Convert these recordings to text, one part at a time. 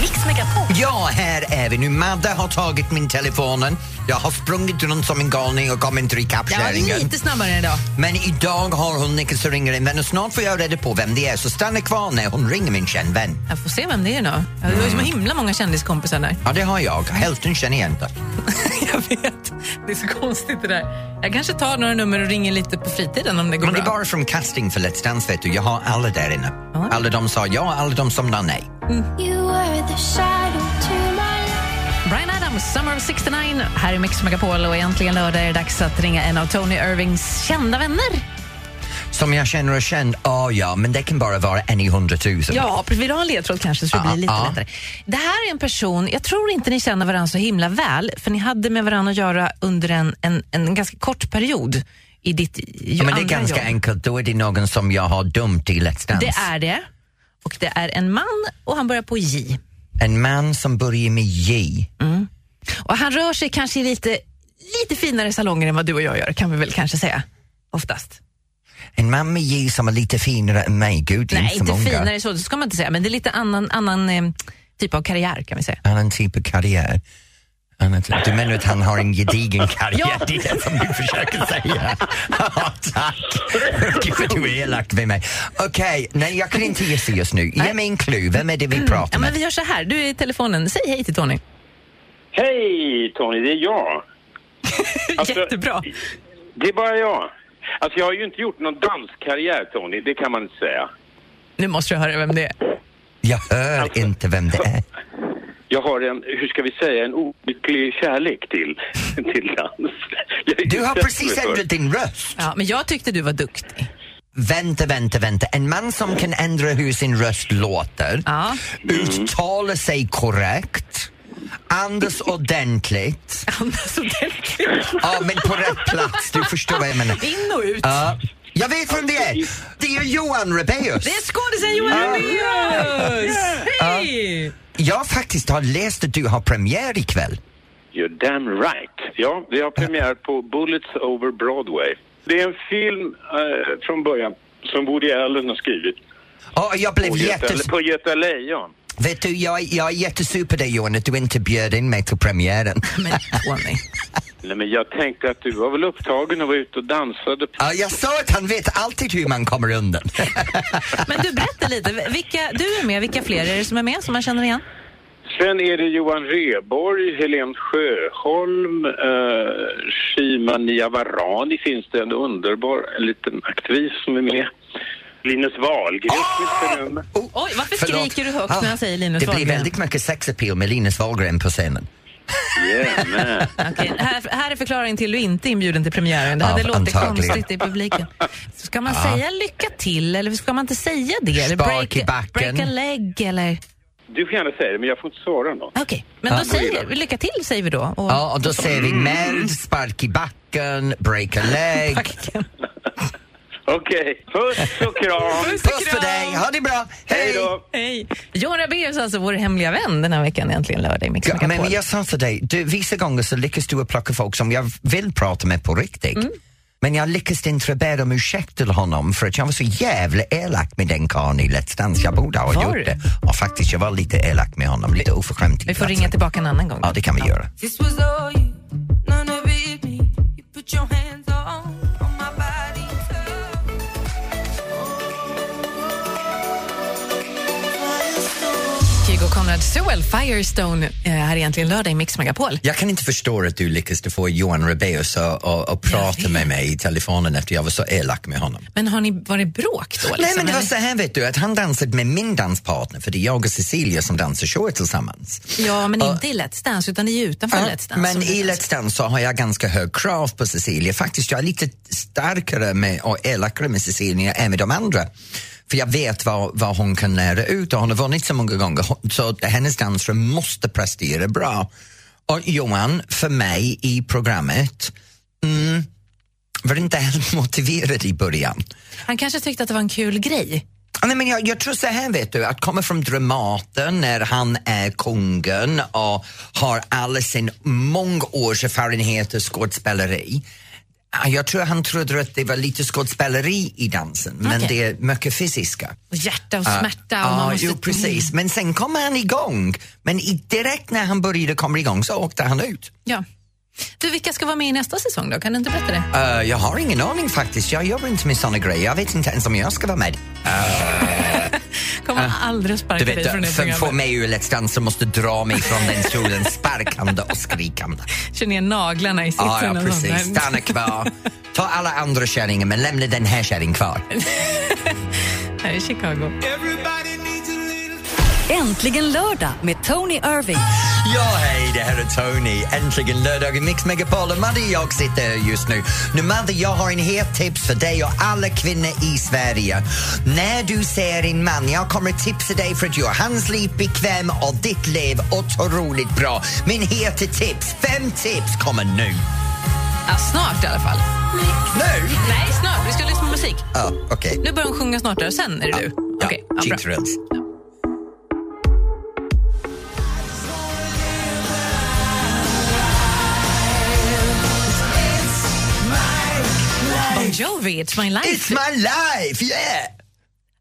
Mix Megapol. Ja, här är vi nu. Madde har tagit min telefonen. Jag har sprungit runt som en galning och kommit inte ikapp Jag var kärringen. lite snabbare idag. Men idag har hon Nicke som ringer en vän och snart får jag reda på vem det är så stanna kvar när hon ringer min vän. Jag får se vem det är nu. Jag har ju så himla många kändiskompisar där. Ja, det har jag. Hälften känner jag inte. jag vet. Det är så konstigt det där. Jag kanske tar några nummer och ringer lite på fritiden om det går Men det är bra. bara från casting för Let's Dance, vet du. Jag har alla där inne. Ja. Alla de sa ja, alla de som sa nej. You were the shadow to my life. Brian Adams, Summer of 69, här i Mix Megapol och äntligen lördag är det dags att ringa en av Tony Irvings kända vänner. Som jag känner och känd, ja, ja, men det kan bara vara en i hundratusen. Ja, precis. vill du ha en ledtråd kanske så det Ja, blir lite ja. lättare. Det här är en person, jag tror inte ni känner varandra så himla väl, för ni hade med varandra att göra under en, en, en ganska kort period i ditt Ja, men det andra är ganska jobb. enkelt. Då är det någon som jag har dömt i Let's Dance. Det är det. Och det är en man och han börjar på J. En man som börjar med J. Och han rör sig kanske i lite, lite finare salonger än vad du och jag gör, kan vi väl kanske säga. Oftast. En man med J som är lite finare än mig. Gud, det är Nej, inte så inte många. finare så, det ska man inte säga, men det är lite annan, annan eh, typ av karriär kan vi säga. Annan typ av karriär. Annan typ- Du menar att han har en gedigen karriär? Ja. Det är det som du försöker säga. Ja, tack! Gud, vad du är elak med mig. Okej, nej, jag kan inte gissa just nu. Ge mig en clue. Vem är det vi pratar Ja, men med? vi gör så här, du är i telefonen, säg hej till Tony. Hej Tony, det är jag. Alltså- Jättebra. Det är bara jag. Alltså jag har ju inte gjort någon danskarriär Tony, det kan man inte säga. Nu måste du höra vem det är. Jag hör inte vem det är. Jag har en, hur ska vi säga, en olycklig kärlek till, till dans. Jag är Du har bättre precis för- ändrat din röst. Ja, men jag tyckte du var duktig. Vänta, vänta, vänta. En man som kan ändra hur sin röst låter, Ja. uttala sig korrekt, andas ordentligt Andas ordentligt. Ja, men på rätt plats. Du förstår vad jag menar. In och ut. Ja. Jag vet vem det är. Det är Johan Rabaeus. Det är skådisen Johan Rabaeus! Hej! Jag faktiskt har läst att du har premiär ikväll. You're damn right. Ja, vi har premiär på Bullets over Broadway. Det är en film eh, från början som Woody Allen har skrivit. Ja, och jag blev På Göta, jättes... eller på Göta Lejon. Vet du, jag, jag är jättesur på dig Johan att du inte bjöd in mig till premiären. Men Tony. Nej men jag tänkte att du var väl upptagen och var ute och dansade. Ja, jag sa att han vet alltid hur man kommer undan. Men du, berätta lite. Vilka, du är med, vilka fler är det som är med som man känner igen? Sen är det Johan Rheborg, Helen Sjöholm, eh, Shima Niavarani finns det en underbar en liten aktiv som är med. Ah! Linus Wahlgren finns det med. Oh, Oj, varför skriker du högt Ah, när jag säger Linus Det blir Wahlgren? väldigt mycket sexappeal med Linus Wahlgren på scenen. Yeah, man. Okej, här, här är förklaringen till du inte är inbjuden till premiären. Det Ja, hade låtit antagligen. konstigt i publiken. Ska man säga lycka till eller ska man inte säga det? Eller Spark i backen. break a leg eller... Du får gärna säga det, men jag får inte svara något. Okej, men då Ja. säger vi lycka till säger vi då. Och Ja, och då säger Mm. vi med, spark i backen, break a leg. backen. Okej, puss och kram! Puss på dig, ha det bra. Hej då! Hej! Johan Rabaeus alltså, vår hemliga vän den här veckan äntligen lördag i Mix Ja, men Megapol. jag sa till dig, du, vissa gånger så lyckas du att plocka folk som jag vill prata med på riktigt. Mm. Men jag lyckas inte be om ursäkt till honom för att jag var så jävla elak med den karln i Let's Dance. Jag borde ha Var gjort du? det. Och faktiskt, jag var lite elak med honom, lite oförskämd. Vi får ringa tillbaka en annan gång. Ja, det kan vi göra. This was all you, none of it me. You put your hands on, on my body. Kygo Konrad Sewell, Firestone, eh, här är egentligen lördag i Mix Megapol. Jag kan inte förstå att du lyckades få Johan Rabaeus att, att, att prata med mig i telefonen efter jag var så elak med honom. Men har ni varit bråk då? Liksom? Nej men det var eller? så här vet du, att han dansade med min danspartner för det är jag och Cecilia som dansar show tillsammans. Ja, men inte i Let's Dance, utan det är ju utanför Ja, Let's Dance. som Men det i kallas. Let's Dance så har jag ganska hög krav på Cecilia. Faktiskt, jag är lite starkare med, och elakare med Cecilia än med de andra. För jag vet vad, vad hon kan lära ut och hon har vunnit så många gånger. Hon- Så hennes dansare måste prestera bra. Och Johan, för mig i programmet, mm, var inte helt motiverad i början. Han kanske tyckte att det var en kul grej. Ja, Nej, men jag, jag tror så här vet du, att komma från Dramaten när han är kungen och har all sin mångårs erfarenhet av skådespeleri. Ja, Jag tror han trodde att det var lite skådespeleri i dansen, men Okej. det är mycket fysiska. Och hjärta och smärta. och man Ja, måste... Mm, jo, precis. Men sen kom han igång. Men i, direkt när han började komma igång så åkte han ut. Ja. Du, vilka ska vara med i nästa säsong då? Kan du inte berätta det? Eh, jag har ingen aning faktiskt. Jag jobbar inte med såna grejer. Jag vet inte ens om jag ska vara med. Kommer aldrig att sparka Du dig från vet, det för att få programmet. mig ur Let's Dance så måste dra mig från den stolen sparkande och skrikande. Kör ner naglarna i sitsen. Ja, ja, och sånt där. precis. Stanna kvar. Ta alla andra kärringar men lämna den här kärringen kvar. Här i Chicago. Äntligen lördag med Tony Irving. Ja, hej, det här är Tony. Äntligen lördag i Mix Megapol och Madde och jag sitter här just nu. Nu Madde, jag har en het tips för dig och alla kvinnor i Sverige. När du ser en man, jag kommer att tipsa dig för att göra hans liv bekväm och ditt liv otroligt bra. Min heta tips, fem tips kommer nu. Ja, snart i alla fall. Nu? Nej, snart. Vi ska lyssna på musik. Ja, okej. Nu börjar hon sjunga snart där, sen är det du. Ja, Okej, ja, Cheap bra. Thrills. Bon Jovi, It's My Life. It's my life, yeah!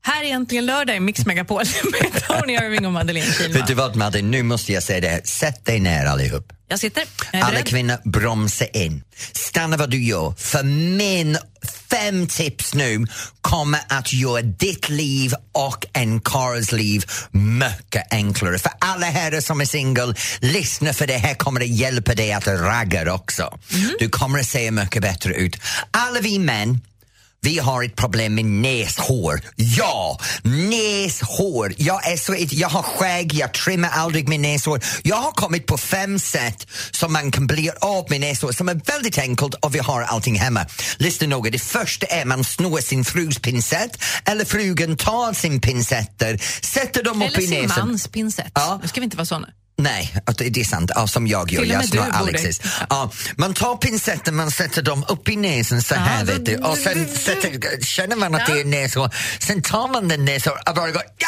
Här är äntligen lördag i Mix Megapol med Tony Irving och Madeleine Vet Kihlman. du vad Madde, nu måste jag säga det här. Sätt dig ner allihop. Jag sitter. Jag är Alla beredd. kvinnor, bromsa in. Stanna vad du gör, för min fem tips nu kommer att göra ditt liv och en karls liv mycket enklare. För alla herrar som är singel, lyssna för det här kommer att hjälpa dig att ragga också. Du kommer att se mycket bättre ut. Alla vi män vi har ett problem med näshår. Ja, näshår. Jag, är så, jag har skägg, jag trimmar aldrig min näshår. Jag har kommit på fem sätt som man kan bli av med näshår som är väldigt enkelt och vi har allting hemma. Lyssna noga. Det första är man snor sin frus pincett eller frugan tar sin pincetter, sätter dem upp Eller i sin näsan. mans pincett. Ja. Nu ska vi inte vara såna. Nej, att det det är sant. Ja, som jag gör. Till och Jag med snor du borde- Alexis. Ja, man tar pincetten, man sätter dem upp i näsan så här. Ja, vet du. Och sen sätter, känner man att det är näshår. Sen tar man den näshår och bara går... Ja,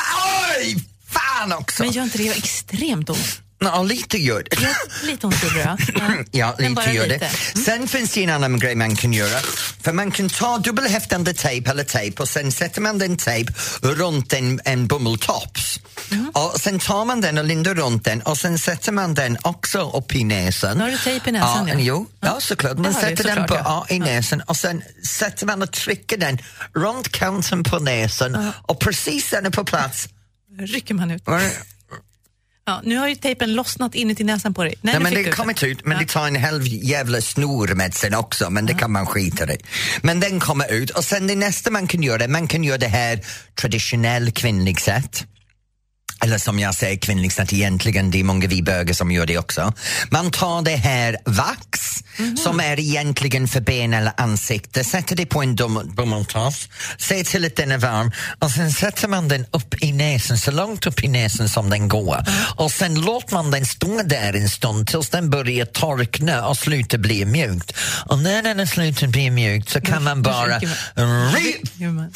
oj! Fan också! Men gör inte det, gör extremt ont. Ja, lite gör det. Gör lite ont gjorde det, ja. Ja, Men lite bara gör lite. Mm. det. Sen finns det en annan grej man kan göra. För man kan ta dubbelhäftande tejp eller tejp och sen sätter man den tejp runt en, en bomulltops. Mm. Och sen tar man den och lindar runt den och sen sätter man den också upp i näsan. Nu har du tejp i näsan, Ja, ja. Mm. Jo, ja, såklart. Man Det har du, sätter den såklart, på, ja. ja. Mm. i näsan och sen sätter man och trycker den runt kanten på näsan Mm. och precis den är på plats. rycker man ut. Var det- Ja, nu har ju tejpen lossnat inuti näsan på dig. Nej, Nej, nu men fick det du har kommit ut, men Ja. det tar en halv jävla snor med sen också, men det kan man skita i. Men den kommer ut och sen det nästa man kan göra, man kan göra det här traditionell kvinnlig sätt. Eller som jag säger kvinnlig sätt egentligen, det är många vi bögar som gör det också. Man tar det här vax som är egentligen för ben eller ansikte, sätter det på en dum- bomullstoffs, ser till att den är varm och sen sätter man den upp i näsan, så långt upp i näsan som den går. Och sen låter man den stå där en stund tills den börjar torkna och slutar bli mjukt. Och när den har slutat bli mjukt så kan man bara... ri- Gör man.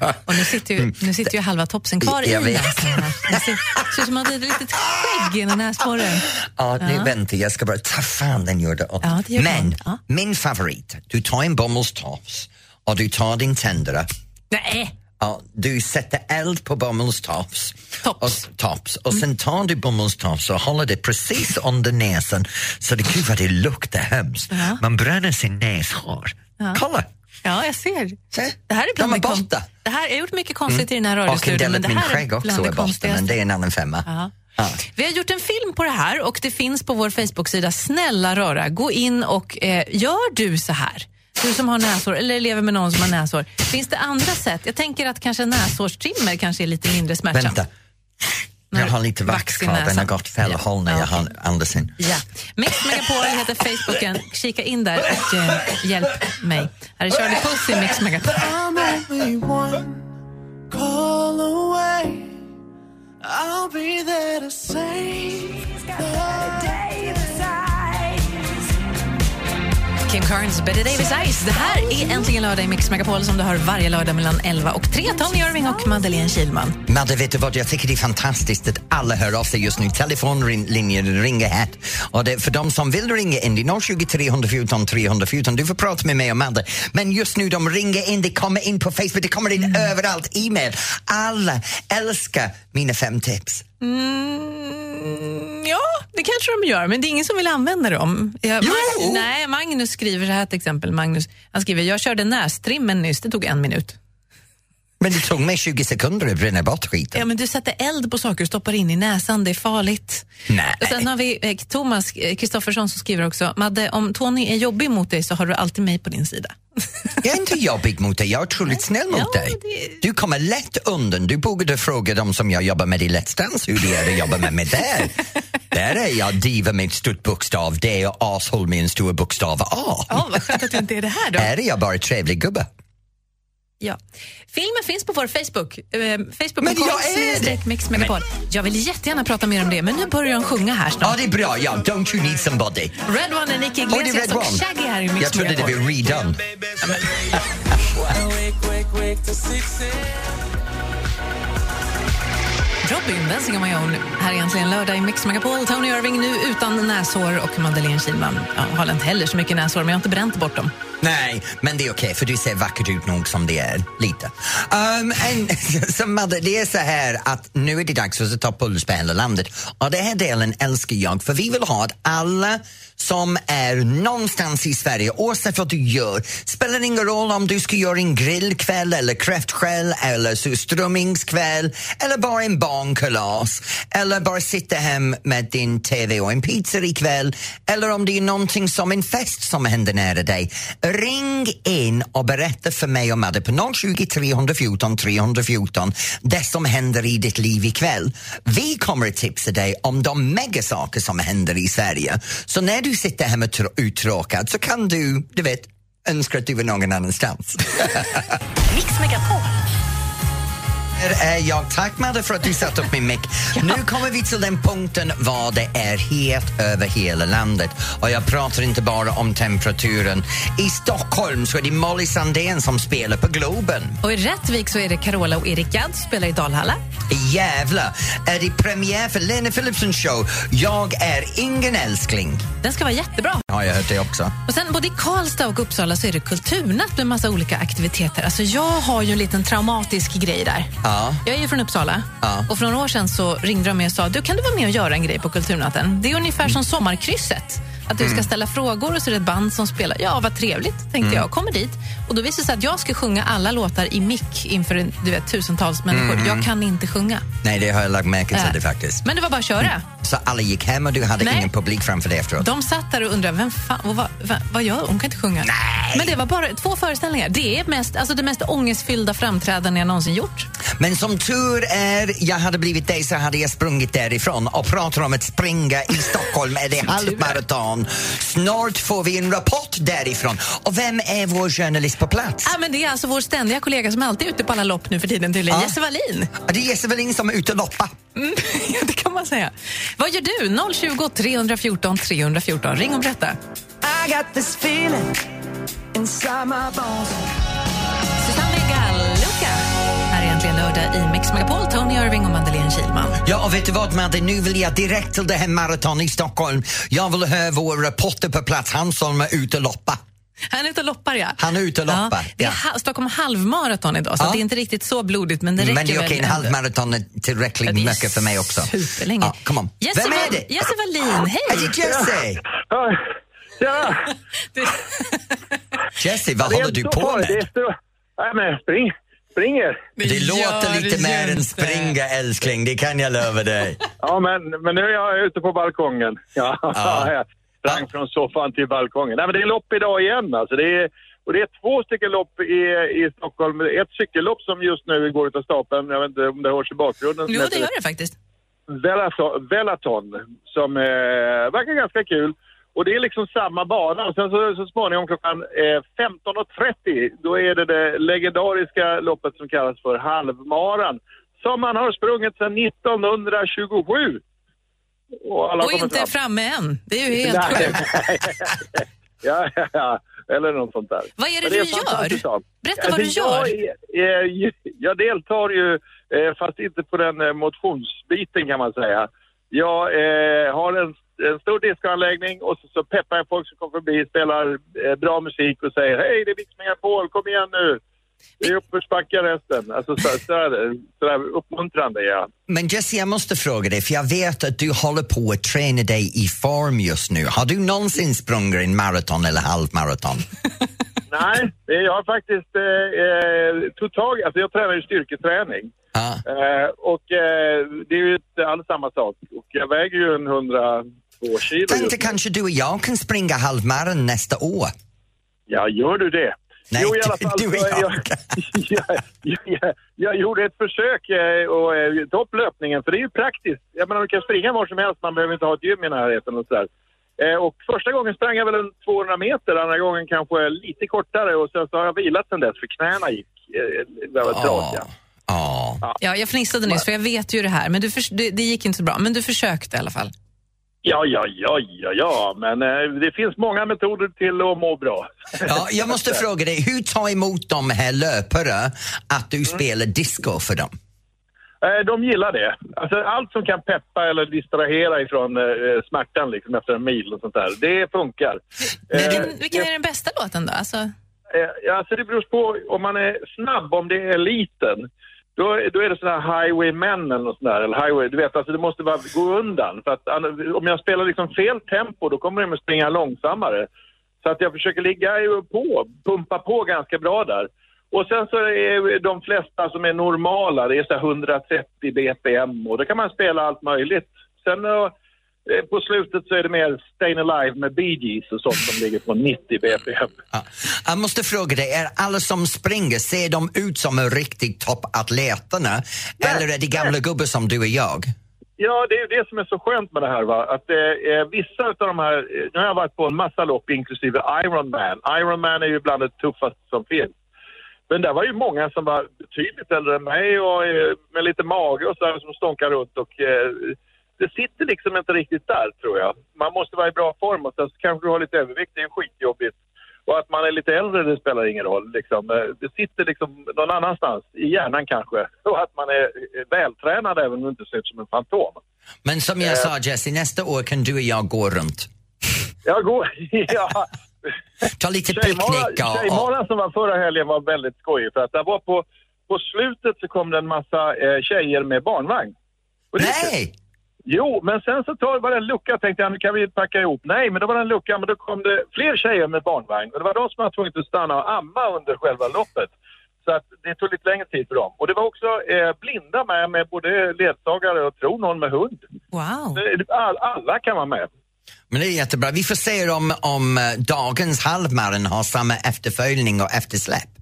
Ja. Och nu sitter, ju, nu sitter ju halva topsen kvar Jag i vet. näsan. här. Det ser, ser ut som att det är ett litet skägg i den här sporren. Ja, nu vänta, jag ska bara ta fan den gjorde ont. Ja, det gör Men ont, ja. min favorit, du tar en bomullstofs och du tar din tändare Nej, Ja, du sätter eld på bomullstofs Tops. och, tops, och sen tar du bomullstofs och håller det precis under näsan så det, gud vad det luktar hemskt. Man bränner sin näshår. Kolla! ja jag ser. Se, Det här är de bland är det kon- borta. Mm. Det här, jag har gjort mycket konstigt i den här Och en radiostudion. del men av det min här skägg också bland är det borta, konstigaste. men det är en annan femma. Ja. Vi har gjort en film på det här och det finns på vår Facebook-sida. Snälla röra, gå in och eh, gör du så här? Du som har näsår eller lever med någon som har näsår. Finns det andra sätt? Jag tänker att kanske näshårstrimmer kanske är lite mindre smärtsamt. Vänta, jag har lite vax Vax i kvar, den har näsan. gått fel Ja. håll när Ja, jag har andas in. Ja. Mix Megapol heter Facebooken. Kika in där och eh, hjälp mig. Här är Charlie Puth i Mix Megapol. I'm only one call away. I'll be there to save. Kim Carnes, Betty Davis Ice. Det här är Äntligen lördag i Mix Megapol som du har varje lördag mellan 11 och 3. Tony Irving och Madeleine Kilman. Madde, vet du vad? Jag tycker det är fantastiskt att alla hör av sig just nu. Telefonlinjer ringer här. Och det, för de som vill ringa in, det är 020 314 314. Du får prata med mig och Madde. Men just nu, de ringer in, det kommer in på Facebook, det kommer in överallt, e-mail. Alla älskar mina fem tips. Mm, Ja, det kanske de gör, men det är ingen som vill använda dem. Jag, Jo! Mag- nej, Magnus skriver så här till exempel. Magnus, han skriver, jag körde nästrimmen nyss, det tog en minut. Men det tog mig 20 sekunder att bränna bort skiten. Ja, men du sätter eld på saker och stoppar in i näsan, det är farligt. Nej. Och sen har vi eh, Thomas eh, Kristoffersson som skriver också, Madde, om Tony är jobbig mot dig så har du alltid mig på din sida. Jag är inte jobbig mot dig, jag är otroligt snäll mot Ja, dig. det- Du kommer lätt undan. Du borde fråga dem som jag jobbar med i Let's Dance hur det är att jobba med mig där. Där är jag diva med en stort bokstav D och ashåll med en stor bokstav A. Ja, vad skönt att du inte är det här då. Här är jag bara trevlig gubbe. Ja. Filmen finns på vår Facebook. Eh, Men jag Facebook.com är det! snedstreck Mix Megapol. Jag vill jättegärna prata mer om det, men nu börjar de sjunga här snart. Ja, det är bra. Ja, don't you need somebody. Red One är Nicky Och det är Iglesias Red och One. Shaggy här i Mix Jag trodde det Megapol. var redone. Robin, Dancing on my own. Här är äntligen lördag i Mix Megapol. Tony Irving nu utan näshår och Madeleine Kihlman. Ja, har inte heller så mycket näshår, men jag har inte bränt bort dem. Nej, men det är okej för du ser vackert ut nog som det är. Lite. Um, en, så Madde, det är så här att nu är det dags för oss att ta puls på hela landet. Och den här delen älskar jag för vi vill ha att alla som är någonstans i Sverige, oavsett vad du gör, spelar ingen roll om du ska göra en grillkväll eller kräftskäll eller så strömmingskväll eller bara en barnkalas eller bara sitta hem med din TV och en pizza ikväll eller om det är någonting som en fest som händer nära dig. Ring in och berätta för mig och Madde på 020 314 314 det som händer i ditt liv ikväll. Vi kommer att tipsa dig om de megasaker som händer i Sverige. Så när du sitter hemma tr- uttråkad så kan du, du vet, önska att du var någon annanstans. Mix Megapol. Här är jag. Tack Madde för att du satte upp min mick. Nu kommer vi till den punkten vad det är helt över hela landet. Och jag pratar inte bara om temperaturen. I Stockholm så är det Molly Sandén som spelar på Globen. Och i Rättvik så är det Carola och Erik Gadd spelar i Dalhalla. I Gävle är det premiär för Lena Philipsons show Jag är ingen älskling. Den ska vara jättebra. Har jag hört det också. Och sen både i Karlstad och Uppsala så är det kulturnatt med massa olika aktiviteter. Alltså jag har ju en liten traumatisk grej där. Ja. Jag är ju från Uppsala Ja. och för några år sedan så ringde de mig och sa du kan du vara med och göra en grej på kulturnatten. Det är ungefär som sommarkrysset. Att Mm. du ska ställa frågor och så är det ett band som spelar. Ja, vad trevligt, tänkte jag. Kommer dit. Och då visade det sig att jag ska sjunga alla låtar i mick inför du vet, tusentals människor. Jag kan inte sjunga. Nej, det har jag lagt märke till Äh. Mm. det faktiskt. Men det var bara att köra. Så alla gick hem och du hade Nej. ingen publik framför dig efteråt? De satt där och undrade vem fan, vad, vad, vad gör hon? Hon kan inte sjunga. Nej. Men det var bara två föreställningar. Det är mest, alltså det mest ångestfyllda framträdande jag någonsin gjort. Men som tur är, jag hade blivit dig så hade jag sprungit därifrån och pratar om att springa i Stockholm är det halvmaraton. Snart får vi en rapport därifrån. Och vem är vår journalist på plats? Ah, men det är alltså vår ständiga kollega som alltid är ute på alla lopp nu för tiden tydligen, Ja. Jesse Wallin. Det är Jesse Wallin som är ute och loppar. Mm, ja, det kan man säga. Vad gör du? 020 314 314. Ring och berätta. I got this feeling inside my bones. Susanne Gallucka. Här är äntligen lördag i Mix Megapol. Tony Irving och Madeleine Kilman. Ja, och vet du vad Madde, nu vill jag direkt till det här maraton i Stockholm. Jag vill höra vår reporter på plats, han som är ute och loppar. Han är ute och loppar, ja. Han är ute och loppar, det är ja. ha- Stockholm halvmaraton idag, så Ja. det är inte riktigt så blodigt, men det räcker Men det är okej, väl en ändå. halvmaraton är Ja, tillräckligt det är mycket för mig också. Superlänge. Ja, come on. Jesse Vem är Wall- det? Jesse Wallin, Är hej! det Jesse? Ja, ja Du- Jesse, vad håller du på med? Nej, men spring, springer. Det, låter gör lite det mer än inte. springa älskling, det kan jag lova dig. Ja, men, men nu är jag ute på balkongen. Ja, Ja. jag sprang från soffan till balkongen. Nej, men det är lopp idag igen. Alltså, det är, och det är två stycken lopp i, i Stockholm. Ett cykellopp som just nu går utav stapeln. Jag vet inte om det hörs i bakgrunden. som Jo, det heter- gör det faktiskt. Velato- Velaton som eh, verkar ganska kul. Och det är liksom samma bana. Och sen så, så småningom klockan eh, 15.30 då är det det legendariska loppet som kallas för halvmaran. Som man har sprungit sedan 1927. Och, alla Och kommer inte fram. framme än. Det är ju helt Nej. sjukt. ja, ja, ja. eller något sånt där. Vad är det Men du är fantastiskt gör? allt. Berätta vad du Alltså, gör. Jag, är- eh, jag deltar ju, eh, fast inte på den eh, motionsbiten kan man säga. Jag eh, har en, en stor discoanläggning och så, så peppar jag folk som kommer förbi, spelar eh, bra musik och säger hej det är Mix Megapol, kom igen nu. Det är uppförsbacke resten. Alltså så, så, där, så där uppmuntrande är jag. Men Jesse, jag måste fråga dig, för jag vet att du håller på att träna dig i form just nu. Har du någonsin sprungit en maraton eller halvmaraton? Nej, eh, jag har faktiskt eh, eh, tog tag alltså jag tränar ju styrketräning. Ja. Eh, och eh, det är ju inte alls samma sak. Och jag väger ju en 102 kilo just Tänkte nu. kanske du och jag kan springa halvmaran nästa år? Ja, gör du det? Nej, jo, i alla du- fall, du och så- jag. jag, jag, jag, jag gjorde ett försök eh, och eh, ta upp löpningen, för det är ju praktiskt. Jag menar, du kan springa var som helst, man behöver inte ha ett gym i närheten och sådär. Eh, och första gången sprang jag väl en 200 meter, andra gången kanske lite kortare och sen så har jag vilat sen dess för knäna gick eh, det var Ah. trasiga. Ja. Ja, jag fnissade nyss för jag vet ju det här, men du förs- det, det gick inte så bra. Men du försökte i alla fall. Ja, ja, ja, ja, ja, men eh, det finns många metoder till att må bra. Ja, jag måste fråga dig, hur tar emot de här löpare att du spelar disco för dem? Eh, De gillar det. Alltså, allt som kan peppa eller distrahera ifrån eh, smärtan liksom, efter en mil och sånt där, det funkar. Vilken, vilken är den bästa låten då? Alltså, Eh, alltså, det beror på om man är snabb, om det är eliten. Då, då är det sådana här highwaymen eller något sånt där, eller highway, du vet, alltså det måste bara gå undan. För att an- om jag spelar liksom fel tempo, då kommer de att springa långsammare. Så att jag försöker ligga ju på, pumpa på ganska bra där. Och sen så är de flesta som är normala, det är så här 130 BPM och då kan man spela allt möjligt. Sen eh, på slutet så är det mer Stayin' Alive med Bee Gees och sånt som ligger på 90 BPM. Ja. Jag måste fråga dig, är alla som springer, ser de ut som en riktig toppatleterna eller är det gamla gubbar som du och jag? Ja, det är ju det som är så skönt med det här. Va? Att eh, vissa av de här... eh, Nu har jag varit på en massa lopp, inklusive Ironman. Ironman är ju bland det tuffaste som finns. Men där var ju många som var betydligt äldre än mig och eh, med lite mage och sådär som stånkar runt. Och, eh, det sitter liksom inte riktigt där, tror jag. Man måste vara i bra form och sen så kanske du har lite övervikt. Det är ju skitjobbigt. Och att man är lite äldre, det spelar ingen roll. Liksom. Eh, Det sitter liksom någon annanstans, i hjärnan kanske. Och att man är eh, vältränad även om du inte ser ut som en fantom. Men som jag sa Jesse, nästa år kan du och jag gå runt. Jag går... Ja. Ta lite picknick Tjejmorgon- och... och Tjejmorgon som var förra helgen var väldigt skojig för att det var på, på slutet så kom det en massa eh, tjejer med barnvagn. Och det är kul. nej! Jo, men sen så tar, var det en lucka tänkte jag nu kan vi packa ihop. Nej, men då var det en lucka men då kom det fler tjejer med barnvagn och det var de som var tvungna att stanna och amma under själva loppet. Så att det tog lite längre tid för dem. Och det var också eh, blinda med, med både ledsagare och tror någon med hund. wow. Det- All, alla kan vara med. Men det är jättebra. Vi får se om, om eh, dagens halvmaran har samma efterföljning och eftersläpp.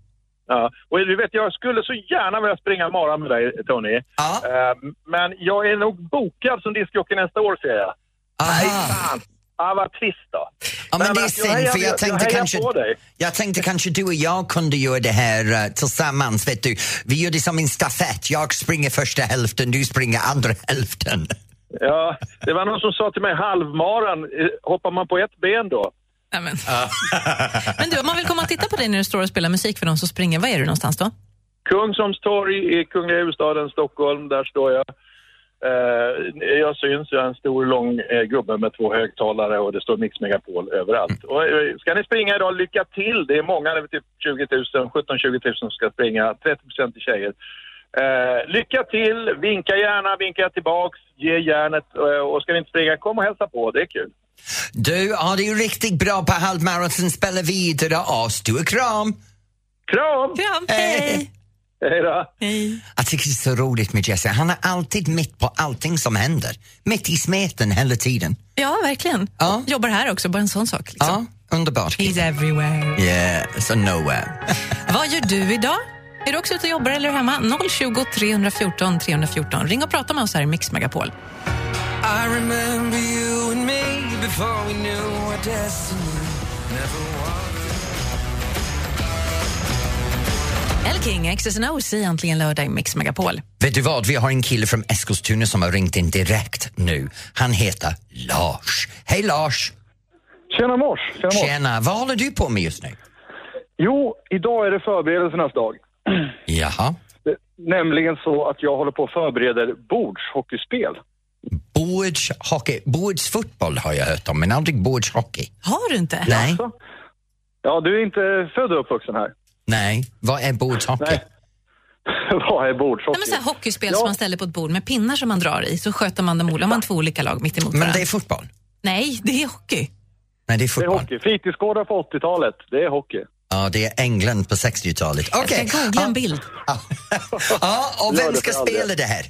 Ja, och du vet, jag skulle så gärna vilja springa mara med dig, Tony. Ja. Eh, Men jag är nog bokad som discjockey nästa år, ser jag. Aha. Fan. Ah, vad trist då. Ja, men det är jag synd, hejar- för jag tänkte, hejar kanske, på dig. jag tänkte kanske du och jag kunde göra det här eh, tillsammans. Vet du. Vi gör det som en stafett. Jag springer första hälften, du springer andra hälften. Ja, det var någon som sa till mig, halvmaran, eh, hoppar man på ett ben då? Nej, men. Ah. men du, om man vill komma och titta på dig när du står och spelar musik för de som springer, var är du någonstans då? Kungsholms torg i Kungliga huvudstaden Stockholm, där står jag. Eh, jag syns, jag är en stor lång eh, gubbe med två högtalare och det står Mix Megapol överallt. Och, eh, ska ni springa idag, lycka till! Det är många, det är typ 20 000, 17-20 000 som ska springa, 30 procent är tjejer. Eh, lycka till, vinka gärna, vinka tillbaks, ge järnet eh, och ska ni inte springa, kom och hälsa på, det är kul. Du har det ju riktigt bra på halvmaraton. Spela vidare och stor kram! Kram! Kram, Hej. hej! Hej då! Hej. Jag tycker det är så roligt med Jesse. Han är alltid mitt på allting som händer. Mitt i smeten hela tiden. Ja, verkligen. Ja. Jobbar här också, bara en sån sak. Liksom. Ja, underbart. He's everywhere. Yeah, so nowhere. Vad gör du idag? Är du också ute och jobbar eller är du hemma? 020 314 314. Ring och prata med oss här i Mix Megapol. I remember you and me before we knew our destiny. El King, X's and O's i Äntligen lördag i Mix Megapol. Vet du vad, vi har en kille från Eskilstuna som har ringt in direkt nu. Han heter Lars. Hej Lars! Tjena mors! Tjena mors. Tjena, vad håller du på med just nu? Jo, idag är det förberedelsernas dag. Jaha. Det- Nämligen så att jag håller på och förbereder bordshockeyspel. Bordshockey. Bordsfotboll har jag hört om, men aldrig bordshockey. Har du inte? Nej, Så. Ja, du är inte född och uppvuxen här. nej. Vad är bordshockey? Nej. Vad är Nej, bordshockey? men så här, hockeyspel Ja. som man ställer på ett bord med pinnar som man drar i, så sköter man dem Då har man två olika lag mitt emot Men varandra. det är fotboll? Nej, det är hockey. Nej, det är det är fotboll. hockey. Fritidsgårdar på 80-talet, det är hockey. Ja, det är England på 60-talet. Okej. Jag ska googla Ja. en bild. Ja, och vem Lördag ska för all del. spela det här?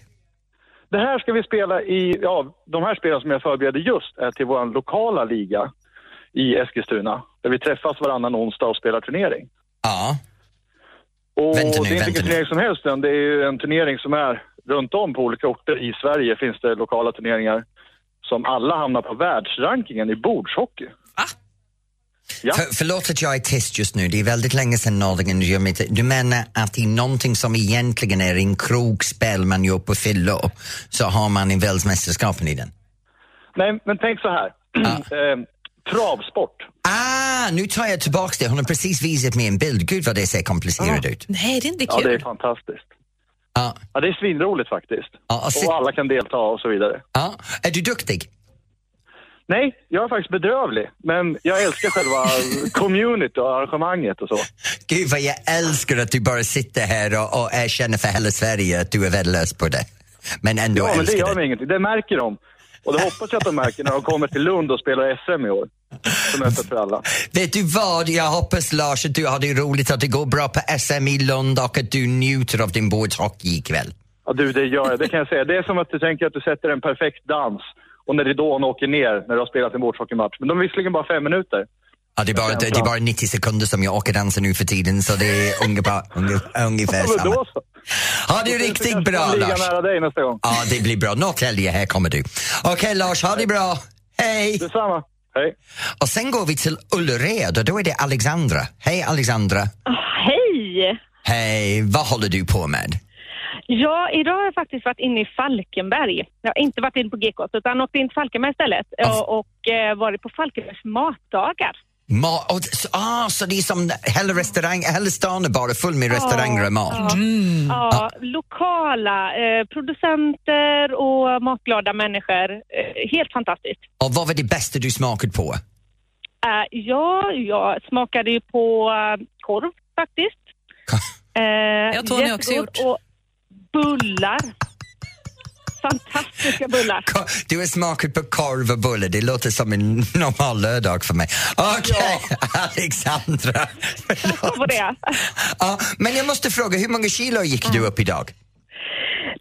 Det här ska vi spela i, ja, de här spelen som jag förbereder just är till vår lokala liga i Eskilstuna. Där vi träffas varannan onsdag och spelar turnering. Ja, Och Vänta nu, det är inte vänta vilken nu. turnering som helst än. Det är ju en turnering som är runt om på olika orter i Sverige finns det lokala turneringar som alla hamnar på världsrankingen i bordshockey. Ja. För, förlåt att jag är tyst just nu, det är väldigt länge sedan Norringen gör mitt... Du menar att i någonting som egentligen är en krogspel man gör på fyllor så har man en världsmästerskapen i den? Nej, men tänk så här. eh, travsport. Ah, nu tar jag tillbaks det. Hon har precis visat mig en bild. Gud vad det ser komplicerat ut. Ah, Nej, det är inte Ja, kul. det är fantastiskt. Ja, Ja, det är svinroligt faktiskt. Ja, och se- Och alla kan delta och så vidare. ja. ah. Är du duktig? Nej, jag är faktiskt bedrövlig. Men jag älskar själva community och arrangemanget och så. Gud vad jag älskar att du bara sitter här och, och erkänner för hela Sverige att du är värdelös på det. Men ändå Ja, men det älskar gör det. mig ingenting. Det märker de. Och det hoppas jag att de märker när de kommer till Lund och spelar SM i år. Som är öppet för alla. Vet du vad? Jag hoppas Lars att du har det roligt, att det går bra på SM i Lund och att du njuter av din bordshockey ikväll. Ja, du, det gör jag. Det kan jag säga. Det är som att du tänker att du sätter en perfekt dans och när ridån åker ner när du har spelat en bordshockeymatch. Men de är visserligen bara fem minuter. Ja, det, är bara, det är bara 90 sekunder som jag åker dansa nu för tiden så det är ungefär, unge- ungefär Ja, men samma. då så. Ha det Så kanske riktigt de bra ligger Lars! nära dig nästa gång. Ja, det blir bra. Norrtälje, här kommer du. Okej Lars, ha det bra! Hej! Detsamma. Hej. Och sen går vi till Ullared och då är det Alexandra. Hej Alexandra! Hej! Hej, vad håller du på med? Ja, idag har jag faktiskt varit inne i Falkenberg. Jag har inte varit inne på Gekås utan åkt in till Falkenberg istället Ja. och, och eh, varit på Falkenbergs matdagar. Ma- och, så- ah, så det är som hela, restaurang, hela stan är bara full med restauranger och mat? Mm. Ja, lokala eh, producenter och matglada människor. Eh, helt fantastiskt. Och vad var det bästa du smakat på? Eh, ja, jag smakade ju på eh, korv faktiskt. Eh, Jag tror ni också jättegod. gjort. Och bullar. Fantastiska bullar. Ko- Du har smakat på korv och bulle. Det låter som en normal lördag för mig. Okej, Alexandra. Vad var det? Ja, men jag måste fråga, hur många kilo gick du upp idag?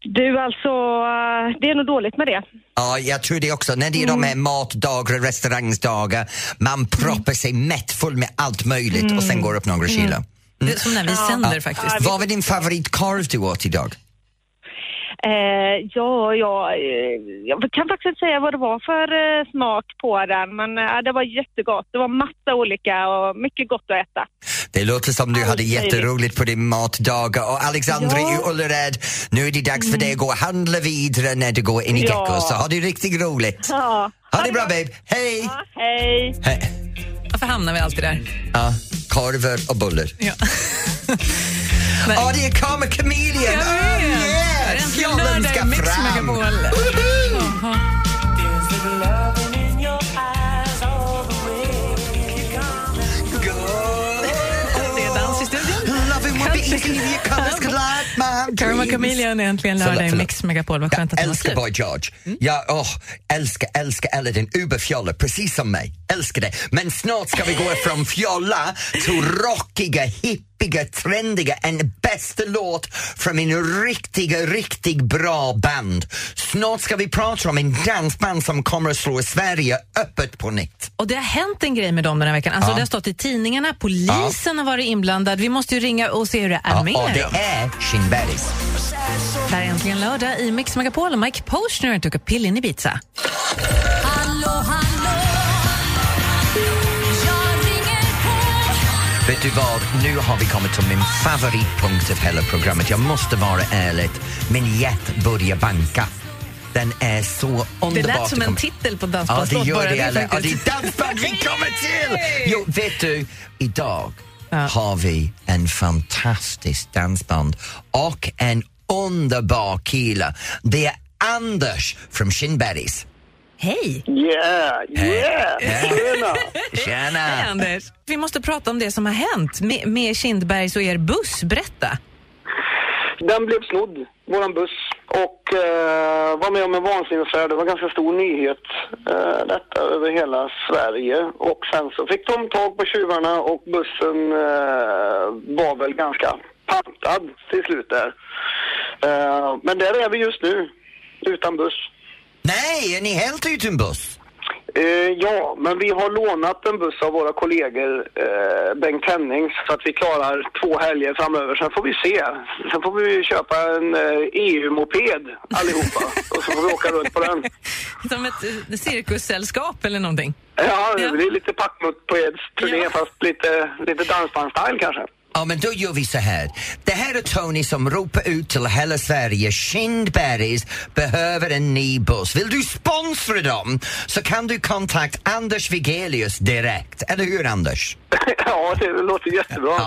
Du, alltså, eh, det är nog dåligt med det. Ja, jag tror det också. När det är de här matdagar och restaurangsdagar, man proppar sig mätt full med allt möjligt och sen går upp några kilo. Det är som när vi Ah. sänder faktiskt. Vad var din favoritkorv du åt idag? Eh, ja, ja, eh, jag kan faktiskt inte säga vad det var för eh, smak på den, men eh, det var jättegott. Det var massa olika och mycket gott att äta. Det låter som du Allt hade möjligt. jätteroligt på din matdag och Alexandra Ja. i Ullared, nu är det dags Mm. för dig att gå och handla vidare när du går in i Ja. Gekko, så ha det riktigt roligt. Ja. Ha det bra babe, hej! Ja, hej! He- Varför hamnar vi alltid där? Ja, korvar och bullar. Ja. Ja, det kommer Chameleon! Jag Oh, vet. Det är yes! en Jobben lördag i ska Mix fram! Megapol. Woho! Det är dans i studion. Love it would be easy if you come as glad, my Karma dreams. Chameleon är äntligen lördag i Förlåt, Mix Megapol. Vad skönt att den var älskar slut. Boy George. Jag åh, älskar, älskar alla din uberfjolla, precis som mig. Älskar det. Men snart ska vi gå från fjolla till rockiga, hippiga, trendiga, en bästa låt från en riktiga, riktigt bra band. Snart ska vi prata om en dansband som kommer att slå Sverige öppet på nytt. Och det har hänt en grej med dem den här veckan. Alltså Ja. Det har stått i tidningarna, polisen har varit inblandad. Vi måste ju ringa och se hur det är Ja, med och dem. det är Kinbergs. Det här är äntligen lördag i Mix Megapol och Mike Posner tog upp pillen i Ibiza. Vet du vad, nu har vi kommit till min favoritpunkt av hela programmet. Jag måste vara ärlig, min hjärt börjar banka. Den är så underbart. Det lät som en kom- titel på Ja, det dansbandslåt gör bara det. Ellen. Ja, det faktiskt. är dansband vi kommer till! Jo, vet du, idag har vi en fantastisk dansband och en underbar kille. Det är Anders från Shinberries. Hej! Yeah, yeah! Tjena! Tjena! Hej Anders! Vi måste prata om det som har hänt med, med Kindbergs och er buss. Berätta! Den blev snodd, våran buss. Och eh, var med om en vansinnig affär. Det var en ganska stor nyhet eh, detta över hela Sverige. Och sen så fick de tag på tjuvarna och bussen eh, var väl ganska pantad till slut där. Eh, men där är vi just nu, utan buss. Nej, är ni helt utan buss? Eh, ja, men vi har lånat en buss av våra kollegor, eh, Bengt Hennings, så att vi klarar två helger framöver. Sen får vi se. Sen får vi köpa en eh, EU-moped allihopa och så får vi åka runt på den. Som ett eh, cirkussällskap eller någonting. Ja, det blir lite packmutt på Eds turné, fast lite, lite dansbandstyle kanske. Ja, men då gör vi så här. Det här är Tony som ropar ut till hela Sverige. Kindbergs behöver en ny buss. Vill du sponsra dem så kan du kontakta Anders Vigelius direkt. Eller hur, Anders? ja, det låter jättebra.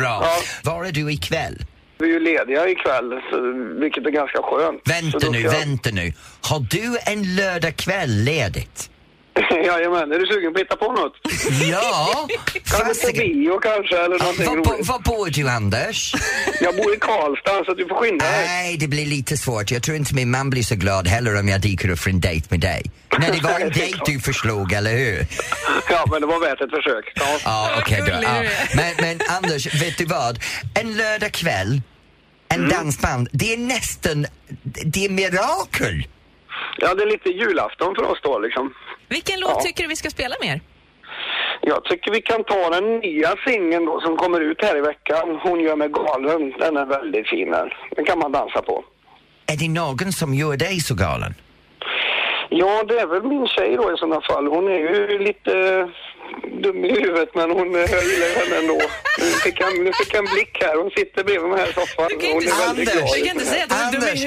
Bra. Var är du ikväll? Vi är ju lediga ikväll, så, vilket är ganska skönt. Så Vänta då nu, ska jag- vänta nu. Har du en lördagkväll ledigt? Jajamän, är du sugen på att hitta på något? Ja! Kan du på bio kanske, eller någonting var, roligt? var bor du, Anders? Jag bor i Karlstad, så du får skynda dig. Nej, det blir lite svårt. Jag tror inte min man blir så glad heller om jag dyker upp för en dejt med dig. Nej, det var en dejt du förslog, eller hur? Ja, men det var värt ett försök. Ja, ja okej då. Ja. Men, men Anders, vet du vad? En lördag kväll, en dansband, det är nästan, det är mirakel. Ja, det är lite julafton för oss då liksom. Vilken låt Ja. tycker du vi ska spela med er? Jag tycker vi kan ta den nya singeln då som kommer ut här i veckan. Hon gör mig galen. Den är väldigt fin den. Den kan man dansa på. Är det någon som gör dig så galen? Ja, det är väl min tjej då i sådana fall. Hon är ju lite eh, dum i huvudet men hon, eh, jag gillar ju henne ändå. Nu fick, jag, nu fick jag en blick här. Hon sitter bredvid mig här i soffan. Hon är väldigt glad. i den här. Anders,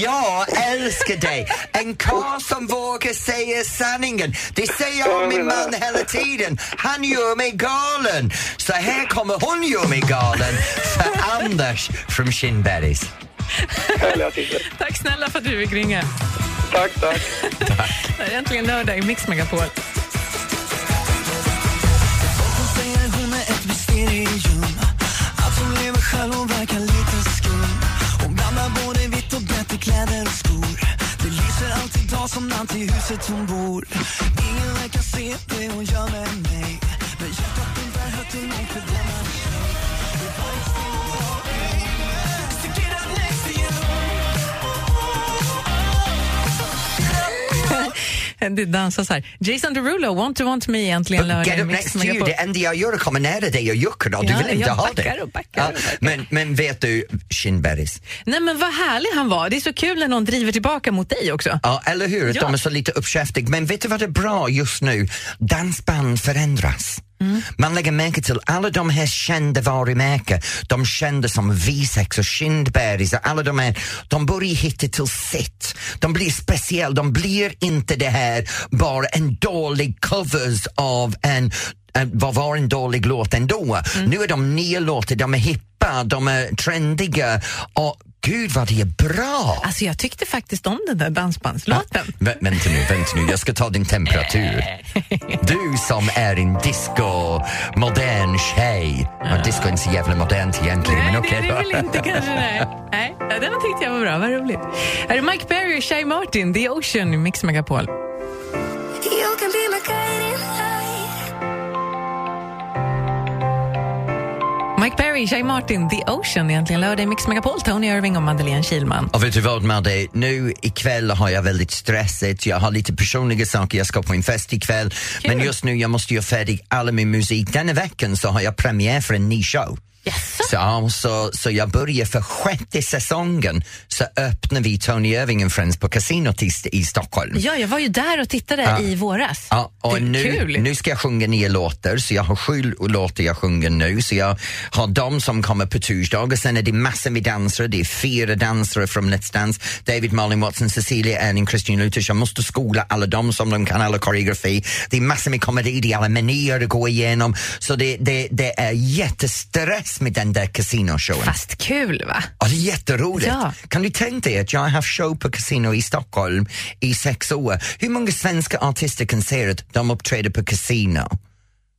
jag älskar dig! En karl som vågar säga sanningen. Det säger jag om min man hela tiden. Han gör mig galen. Så här kommer hon gör mig galen för Anders från Kindbergs. Tack snälla för att du fick ringa. Tack, tack. Det är äntligen lördag i Mix Megapol. säger hon är ett mysterium Att hon lever själv, hon verkar lite skum Hon blandar både vitt och blått i kläder och skor Det lyser alltid dag som natt i huset hon bor Ingen verkar se det hon gör med mig Men hjärtat pumpar högt och mig för denna tjej Det var ett stort Stick it up next to you Det dansas här. Jason Derulo, Want to want me, äntligen lördag Get i up Mix next to you, Megapol. det enda jag gör är att komma nära dig och jucka och du Ja, vill inte jag ha backar det. och Ja, men, men vet du, Kindbergs, Nej men vad härlig han var. Det är så kul när någon driver tillbaka mot dig också. ja, eller hur? Att Ja. De är så lite uppkäftiga. Men vet du vad det är bra just nu? Dansband förändras. Man lägger märke till alla de här kända varumärken, de kända som Visex och Kindbergs och alla de här, de börjar hitta till sitt. De blir speciella, de blir inte det här bara en dålig covers av en, en vad var en dålig låt ändå. Nu är de nya låtar, de är hippa, de är trendiga och gud vad det är bra! Alltså jag tyckte faktiskt om den där dansbandslåten. Vä- vänta nu, vänta nu, jag ska ta din temperatur. Du som är en disco, modern tjej. Ja, disco är inte så jävla modernt egentligen, men okej. Nej, det är det väl inte kanske. Nej. nej. Ja, Den tyckte jag var bra, vad roligt. Här är Mike Perry och Shai Martin, The Ocean i Mix Megapol. You can be my guiding light. Mike Perry, Shai Martin, The Ocean, egentligen lördag i Mix Megapol. Tony Irving och Madeleine Kilman. Och vet du vad Madde, nu ikväll har jag väldigt stressigt, jag har lite personliga saker, jag ska på en fest ikväll. Men just nu jag måste göra färdig all min musik. Denna veckan så har jag premiär för en ny show. Så, så, så jag börjar för sjätte säsongen så öppnar vi Tony Irving and Friends på kasinot i, i Stockholm. Ja, jag var ju där och tittade Ja. i våras. Ja, och Det är nu, kul. nu ska jag sjunga nio låtar, så jag har sju låtar jag sjunger nu. Så jag har dem som kommer på torsdag och sen är det massor med dansare. Det är fyra dansare från Let's Dance. David, Malin Watson, Cecilia Erling, Kristin Luthers. Jag måste skola alla dem som de kan alla koreografi. Det är massor med komedi, det är alla menyer att gå igenom. Så det, det, det är jättestress med den där kasinoshowen. Fast kul va? Ja, det är jätteroligt. Ja. Kan du tänka dig att jag har haft show på kasino i Stockholm i sex år? Hur många svenska artister kan säga att de uppträder på kasino?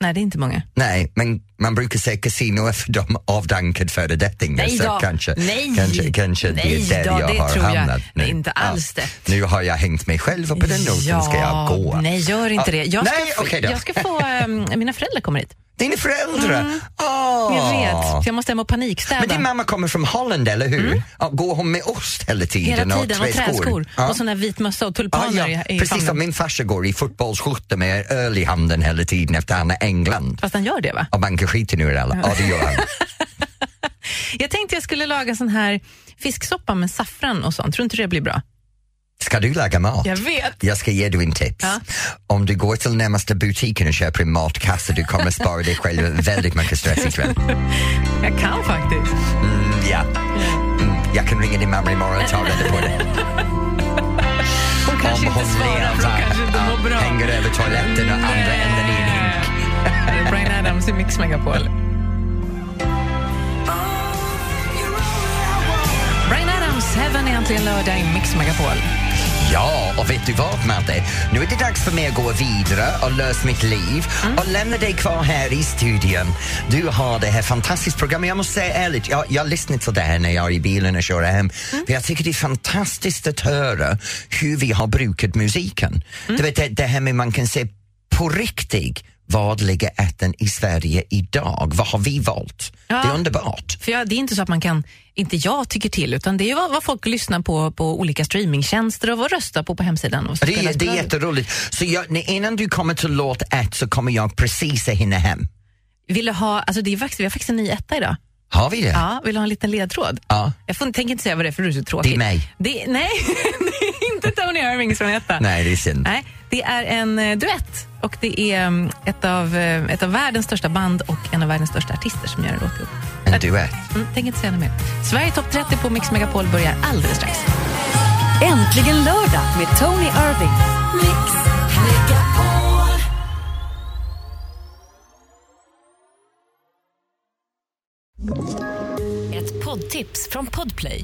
Nej, det är inte många. Nej, men man brukar säga kasino är för de avdankade föredettingar. Nej så då. kanske, Nej. kanske, kanske Nej det är där då, jag det har tror jag. hamnat nu. Inte alls det. Nu har jag hängt mig själv och på den noten ska jag gå. Nej, gör inte Ja, det. Jag ska, nej, få- okej då. jag ska få... ehm, mina föräldrar kommer hit. Dina föräldrar? Åh. Mm. Jag vet, för jag måste hem och Men panikstäda. din mamma kommer från Holland, eller hur? Ja, går hon med ost hela tiden? Hela tiden, och träskor. Ja. Och sån där vit mössa och Ah, Ja, tulpaner ja, i, i precis som famnen. min farsa går i fotbollsskjorta med öl i handen hela tiden efter han är England. Fast han gör det va? Och bankar skiten ur alla. Ja, det gör han. Jag tänkte jag skulle laga sån här fisksoppa med saffran och sånt. Tror inte det blir bra? Ska du laga mat? Jag vet. Jag ska ge dig en tips. Ja. Om du går till närmaste butiken och köper en matkasse, du kommer att spara dig själv väldigt mycket stress ikväll. Jag kan faktiskt. Mm, ja. Mm, jag kan ringa din mamma imorgon och ta reda på det. Hon kanske Om hon inte svarar för hon kanske inte mår bra. hänger över toaletten och andra änden i en hink. Det är Bryan Eh. Adams i Mix Megapol. Bryan Adams, Heaven är äntligen lördag i Mix Megapol. Ja, och vet du vad Madde? Nu är det dags för mig att gå vidare och lösa mitt liv och lämna dig kvar här i studion. Du har det här fantastiska programmet. Jag måste säga ärligt, jag, jag lyssnar till det här när jag är i bilen och kör hem. För jag tycker det är fantastiskt att höra hur vi har brukat musiken. Du vet det, det här med man kan se på riktigt vad ligger ätten i Sverige idag? Vad har vi valt? Det är underbart. För jag, det är inte så att man kan, inte jag tycker till, utan det är ju vad, vad folk lyssnar på på olika streamingtjänster och vad röstar på på hemsidan. Och så Det är, spelas på det är radio. jätteroligt. Så jag, innan du kommer till låt ett så kommer jag precis att hinna hem. Vill du ha, alltså det är faktiskt, vi har faktiskt en ny etta idag. Har vi det? Ja, vill du ha en liten ledtråd? Ja. Jag får, tänker inte säga vad det är för du är så tråkig. Det är mig. Det, nej, det är inte Tony Irving som är etta. Nej, det är synd. Nej, det är en eh, duett och det är mm, ett av, eh, ett av världens största band och en av världens största artister som gör en låt ihop. En duett. Mm, tänker inte säga något mer. Sverige topp 30 på Mix Megapol börjar alldeles strax. Äntligen lördag med Tony Irving. Mix Megapol. Ett poddtips från Podplay.